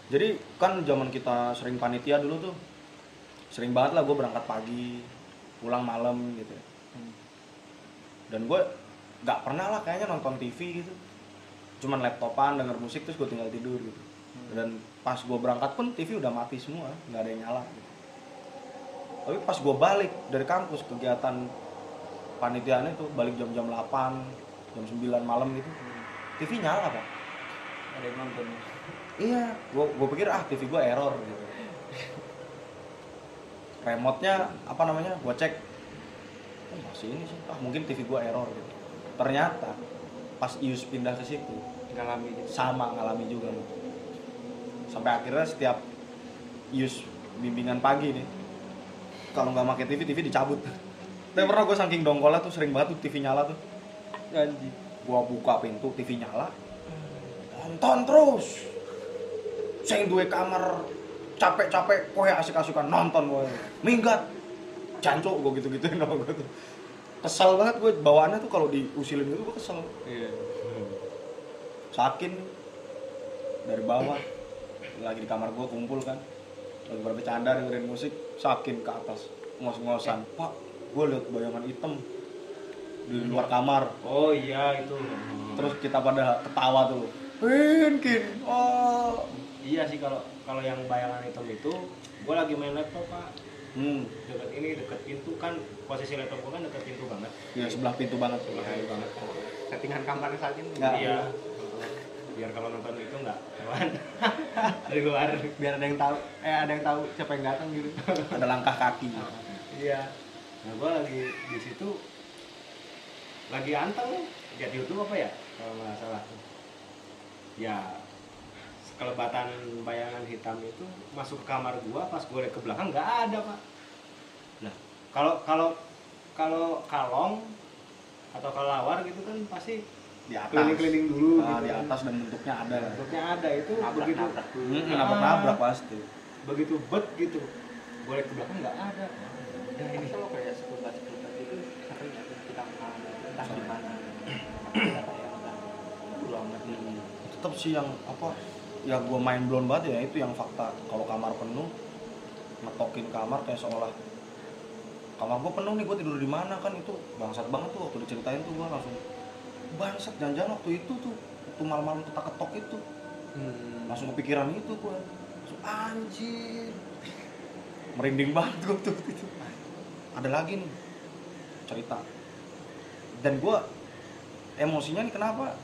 S3: Jadi kan zaman kita sering panitia dulu tuh, sering banget lah gue berangkat pagi, pulang malam gitu. ya.
S1: Hmm.
S3: Dan gue nggak pernah lah kayaknya nonton TV gitu, cuman laptopan denger musik terus gue tinggal tidur gitu. Dan pas gue berangkat pun TV udah mati semua, nggak ada yang nyala. Gitu. Tapi pas gue balik dari kampus kegiatan panitiaannya tuh balik jam-jam 8, jam 9 malam gitu, TV nyala pak.
S1: ada yang nonton
S3: Iya, gua gua pikir ah TV gua error gitu. Remote-nya apa namanya? Gua cek. Oh, masih ini sih. Ah, mungkin TV gua error gitu. Ternyata pas Ius pindah ke situ
S1: ngalami gitu
S3: sama ngalami juga lu. Sampai akhirnya setiap Ius bimbingan pagi nih kalau nggak pakai TV, TV dicabut. Tapi pernah gue saking dongkolnya tuh sering banget tuh TV nyala tuh.
S1: Anjing.
S3: Gua buka pintu TV nyala. Nonton terus. Sing duwe kamar capek-capek kowe asik-asikan nonton kowe. Minggat. Jancuk gua gitu-gituin sama gua tuh. Kesel banget gue bawaannya tuh kalau diusilin gitu gue kesel.
S1: Iya.
S3: Sakin dari bawah lagi di kamar gua kumpul kan lagi bercanda dengerin musik sakin ke atas ngos-ngosan
S2: Eh.
S3: pak gue liat bayangan hitam di luar kamar
S2: oh iya itu
S3: terus kita pada ketawa tuh Kin, kin, oh.
S2: iya sih kalau kalau yang bayangan hitam itu gue lagi main laptop pak
S3: Hmm,
S2: deket ini deket pintu kan posisi laptop gue kan deket pintu banget
S3: ya sebelah pintu banget.
S2: sebelah kayu banget
S3: Iya.
S1: Settingan kamarnya saat ini.
S3: Nggak.
S2: iya biar kalau nonton itu nggak *laughs* hewan dari luar
S1: Biar ada yang tahu, eh ada yang tahu siapa yang datang gitu.
S3: Ada langkah kaki.
S2: iya nah gue lagi di situ lagi anteng nih lihat YouTube apa ya kalau nggak salah ya sekelebatan bayangan hitam itu masuk ke kamar gua pas gue lihat ke belakang nggak ada pak nah kalau kalau kalau kalong atau kelawar gitu kan pasti
S3: Di atas.
S2: keliling-keliling dulu
S3: Nah,
S2: gitu
S3: di
S2: kan.
S3: atas dan bentuknya ada. lah.
S2: bentuknya ada itu begitu
S1: Nabrak-nabrak dulu.
S3: Hmm, nabrak-nabrak pasti.
S2: begitu bet gitu gue lihat ke belakang nggak ada
S1: Ya, ini sama kayak seputar-seputar itu sering ya kita mengalami entah di mana. Belum ngerti.
S3: Tetap sih yang apa? Ya gua main blown banget ya itu yang fakta. Kalau kamar penuh, ngetokin kamar kayak seolah kamar gua penuh nih gua tidur di mana kan itu bangsat banget tuh waktu diceritain tuh gua langsung bangsat jangan-jangan waktu itu tuh waktu malam-malam ketak ketok itu
S1: Hmm,
S3: langsung kepikiran itu gua langsung anjir merinding banget gua tuh waktu itu ada lagi nih cerita dan gua emosinya nih kenapa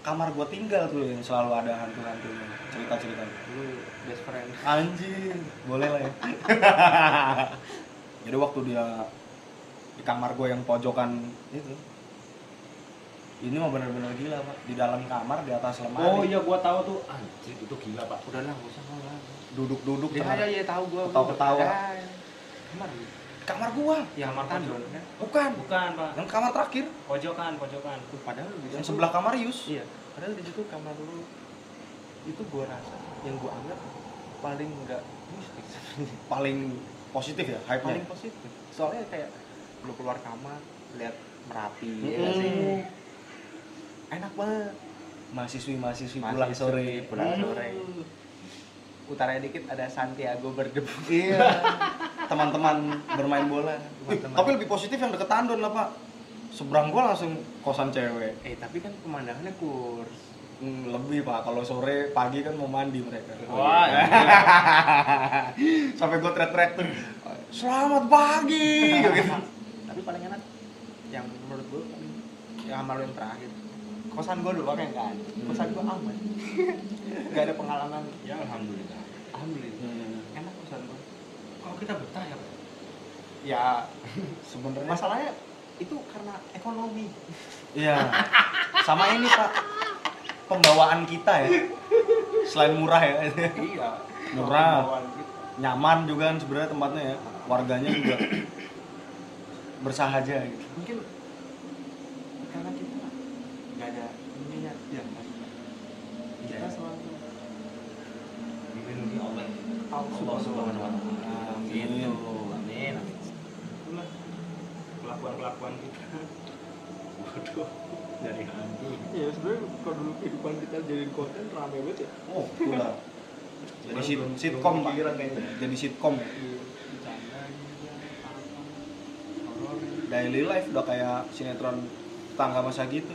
S3: kamar gua tinggal tuh yang selalu ada hantu-hantunya cerita ceritanya
S1: Lu best friend.
S3: anjir boleh lah ya *laughs* jadi waktu dia di kamar gua yang pojokan itu ini mah bener-bener gila pak di dalam kamar di atas lemari
S2: oh iya gue tahu tuh anjir itu gila pak
S1: Udah lah, gak usah ngolah.
S3: duduk-duduk
S1: Ya,
S2: Iya,
S3: tengah-
S1: ya, ya, tahu gua.
S3: Ketawa-ketawa.
S1: Ya, Kamar.
S3: kamar gua
S1: Ya, kamar
S2: Pojok.
S1: tandon kan.
S3: bukan
S2: bukan pak
S3: yang kamar terakhir
S2: pojokan pojokan
S1: Tuh, Padahal di
S3: yang
S1: situ-
S3: sebelah kamar Yus
S1: Iya, padahal di situ kamar lu itu gua rasa yang gua anggap paling nggak mistis,
S3: paling positif ya hype nya
S1: paling positif. Soalnya kayak lu keluar kamar, lihat merapi, ya nggak sih?
S3: Mm.
S1: Enak banget.
S3: mahasiswi mahasiswi pulang sore Hmm.
S1: pulang sore. Utaranya dikit ada Santiago berdebu.
S3: iya teman-teman bermain bola Ih,
S1: *laughs* Teman-teman.
S3: tapi lebih positif yang deket tandon lah pak seberang gua langsung kosan cewek
S1: Eh tapi kan pemandangannya kurs.
S3: Hmm, lebih pak kalau sore pagi kan mau mandi mereka
S2: Wah,
S3: sampai gua teriak-teriak tuh selamat pagi
S1: Hmm.
S3: gitu
S1: tapi paling enak yang menurut gue paling yang kamar lu yang terakhir kosan gue doang yang nggak ada
S3: Hmm.
S1: kosan gue aman *laughs* nggak ada pengalaman
S2: ya alhamdulillah
S1: alhamdulillah
S3: Hmm,
S1: enak kosan gue
S2: kalau kita betah ya Pak?
S1: ya *laughs*
S3: sebenarnya
S1: masalahnya itu karena ekonomi
S3: Iya. Sama ini Pak. Pembawaan kita ya. Selain murah ya.
S1: iya
S3: Murah.
S1: Bawaan gitu.
S3: Nyaman juga kan sebenarnya tempatnya ya. Warganya juga bersahaja gitu.
S1: mungkin karena kita nggak ada ininya ya
S2: Iya.
S1: kita selalu
S2: dilindungi oleh
S1: Allah subhanahu wa taala Iya,
S3: Amin.
S2: Gitu. amin amin itulah kelakuan kelakuan kita waduh dari hantu
S1: ya sebenarnya kalau dulu kehidupan kita jadiin konten rame banget ya
S3: Oh, gila. Jadi sit
S2: Belum-
S3: sitkom
S2: belum
S3: Pak.
S2: pikiran kayaknya. Iya,
S3: Jadi sitkom ya.
S1: bercanda gitu horor
S3: Daily life udah kayak sinetron tangga masa gitu.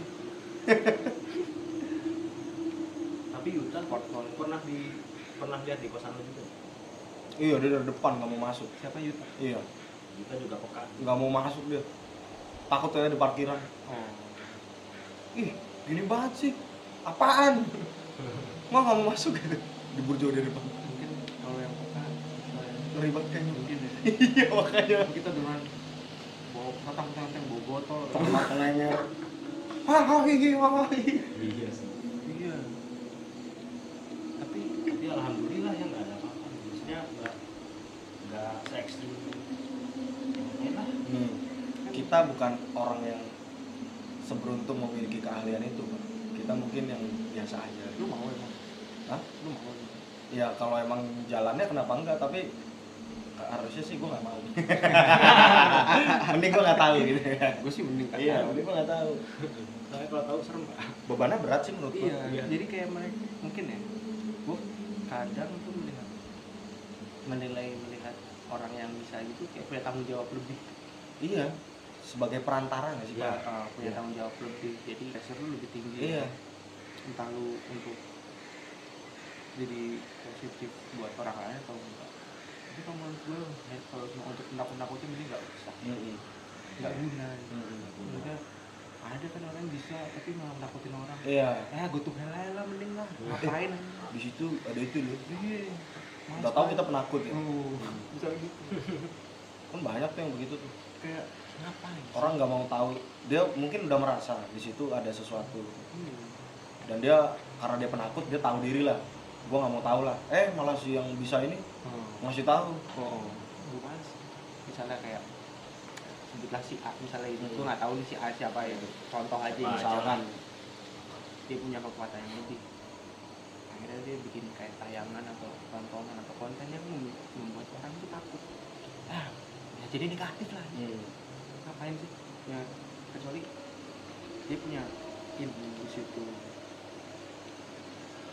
S2: tapi Yuta pernah- pernah di pernah lihat di kosan lu juga
S3: Iya, dia dari depan nggak mau masuk.
S1: siapa Yuta
S3: Iya,
S2: Yuta juga peka
S3: nggak mau masuk dia. Takut ada di parkiran.
S1: oh
S3: Ih, gini banget sih. Apaan? Mau nggak mau masuk *laughs* gitu. Dibur jauh dari depan.
S1: mungkin kalau yang peka misalnya,
S3: ribet kayaknya *laughs*
S1: mungkin ya
S3: iya makanya
S1: Kalau kita dengan bawa tentang tentang bawa botol
S3: pernah kelenyer hahaha hahaha
S2: iya sih
S1: iya
S2: tapi tapi alhamdulillah ya nggak ada apa-apa maksudnya nggak nggak se ekstrim yang lain lah
S3: hmm.
S1: Kan
S3: Ki- kita bukan orang yang seberuntung memiliki keahlian itu Pak. kita mungkin yang biasa aja
S1: lu mau emang
S3: Hah?
S1: lu mau emang?
S3: ya kalau emang jalannya kenapa enggak tapi harusnya sih gue nggak *laughs* mau mending gue nggak tahu gitu
S1: gue sih mending kagak.
S3: iya mending gue nggak tahu
S2: Soalnya kalau tahu serem pak.
S3: bebannya berat sih menurut gue
S1: iya
S2: Iya.
S1: jadi kayak mereka mungkin ya gue kadang tuh melihat menilai melihat orang yang bisa gitu kayak punya tanggung jawab lebih
S3: iya sebagai perantara nggak sih
S1: Iya,
S3: pak
S1: uh, punya
S3: Iya.
S1: tanggung jawab lebih jadi pressure lu lebih tinggi
S3: iya
S1: entah lu untuk jadi positif buat orang lain atau enggak tapi kalau menurut gue ya, kalau cuma untuk nakut-nakutin mending nggak usah
S3: Mm-mm. Iya.
S1: nggak guna
S3: Mm-mm.
S1: maksudnya ada kan orang bisa tapi malah nakutin orang
S3: iya
S1: eh gue tuh helai lah mending lah
S3: *laughs*
S1: ngapain
S3: di situ ada itu loh
S1: iya Males
S3: nggak tahu
S1: banget.
S3: kita penakut ya
S1: Oh, bisa gitu
S3: kan banyak tuh yang begitu tuh
S1: kayak ngapain sih?
S3: orang nggak mau tahu dia mungkin udah merasa di situ ada sesuatu
S1: Hmm.
S3: dan dia karena dia penakut dia tahu diri lah gue nggak mau tahu lah eh malah si yang bisa ini ngasih tahu
S1: Oh, bukan sih. misalnya kayak sebutlah si A misalnya itu gue nggak tahu nih si A siapa ya contoh aja
S2: Siapa aja.
S1: misalkan dia punya kekuatan yang lebih akhirnya dia bikin kayak tayangan atau tontonan atau konten yang mem- membuat orang tuh takut ah ya jadi negatif lah
S3: Hmm.
S1: ngapain sih ya kecuali dia punya ilmu di situ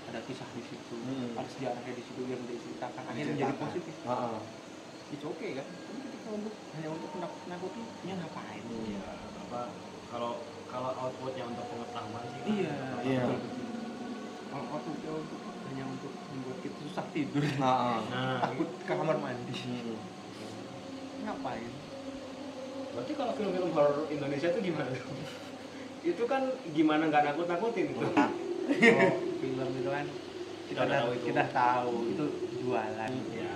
S1: ada kisah di situ
S3: Hmm.
S1: ada sejarahnya di situ yang diceritakan akhirnya menjadi
S3: Diceritakan.
S1: positif
S3: Ah, ah.
S1: itu oke kan tapi ketika untuk hanya untuk menakut nakuti ya ngapain
S2: Iya, apa kalau kalau outputnya untuk pengetahuan sih.
S1: iya
S3: Iya.
S1: betul-betul. kalau waktu itu untuk hanya untuk membuat kita susah tidur *laughs*
S3: Ah, ah.
S2: Nah,
S1: takut ke kamar mandi
S3: Mm-mm.
S2: *laughs*
S1: ngapain
S2: berarti kalau film-film horor Indonesia itu gimana? *laughs* itu kan gimana nggak nakut-nakutin gitu. itu.
S3: Iya.
S1: kalau film itu kan kita
S2: Kita udah
S1: udah-
S2: tahu itu.
S1: kita tahu itu jualan
S2: Iya.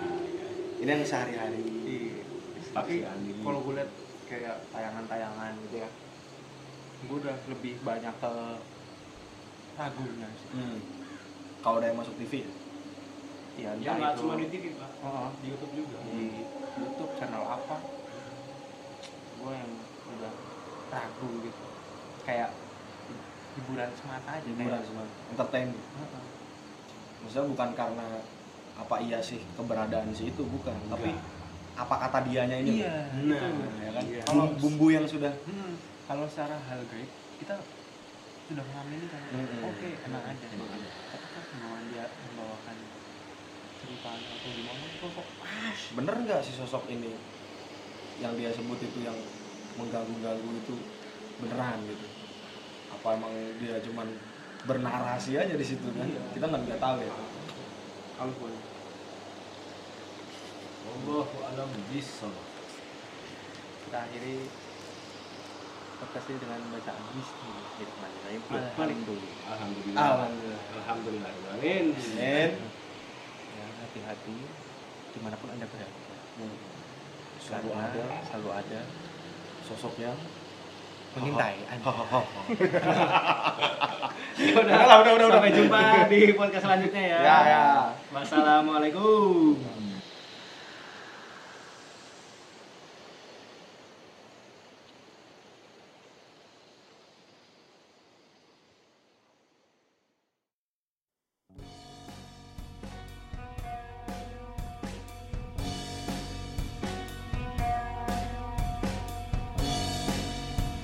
S3: ini yang sehari-hari
S1: Iya. tapi kalau gue liat kayak tayangan-tayangan gitu ya gue udah lebih banyak ke ragunya sih
S3: Hmm. kalau udah yang masuk TV
S1: ya
S2: ya
S3: Iya,
S1: entah
S2: nggak
S1: itu
S2: cuma di TV pak,
S1: Heeh,
S2: di YouTube juga.
S1: di YouTube channel apa gue yang udah ragu gitu kayak hiburan semata aja
S3: hiburan
S1: kayak,
S3: semua entertainment
S1: Heeh.
S3: maksudnya bukan karena apa iya sih keberadaan si itu bukan tapi apa kata dianya ini
S1: iya
S2: Nah,
S1: betul.
S3: ya kan
S2: Iya.
S3: kalau bumbu yang sudah
S1: Hmm, kalau secara hal gaib kita sudah mengamini kan
S3: Mm-mm.
S1: oke enak aja tapi kan memang dia membawakan cerita atau gimana kok kok ah
S3: bener nggak si sosok ini yang dia sebut itu yang mengganggu-ganggu itu beneran gitu apa emang dia cuman bernarasi aja di situ kan
S1: Iya.
S3: kita nggak bisa tahu ya
S1: kalau gue
S2: Allahu alam bisawab.
S1: kita akhiri podcast ini dengan bacaan Bismillahirrahmanirrahim paling dulu
S2: Alhamdulillah.
S3: alhamdulillah
S2: Alhamdulillah. Amin.
S3: And,
S1: ya hati-hati dimanapun anda berada
S3: hmm, selalu ada
S1: selalu ada
S3: sosok yang
S1: mengintai anda
S2: Ya udah,
S3: Udah lah, udah, udah,
S2: Sampai
S3: udah.
S2: jumpa di podcast selanjutnya ya.
S3: Ya, ya.
S2: Wassalamualaikum.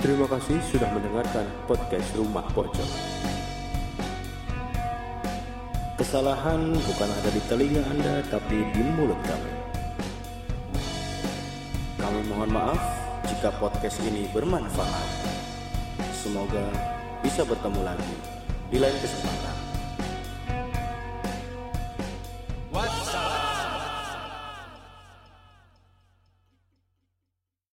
S4: Terima kasih sudah mendengarkan podcast Rumah Pojok. Kesalahan bukan ada di telinga Anda, tapi di mulut kami. Kami mohon maaf jika podcast ini bermanfaat. Semoga bisa bertemu lagi di lain kesempatan.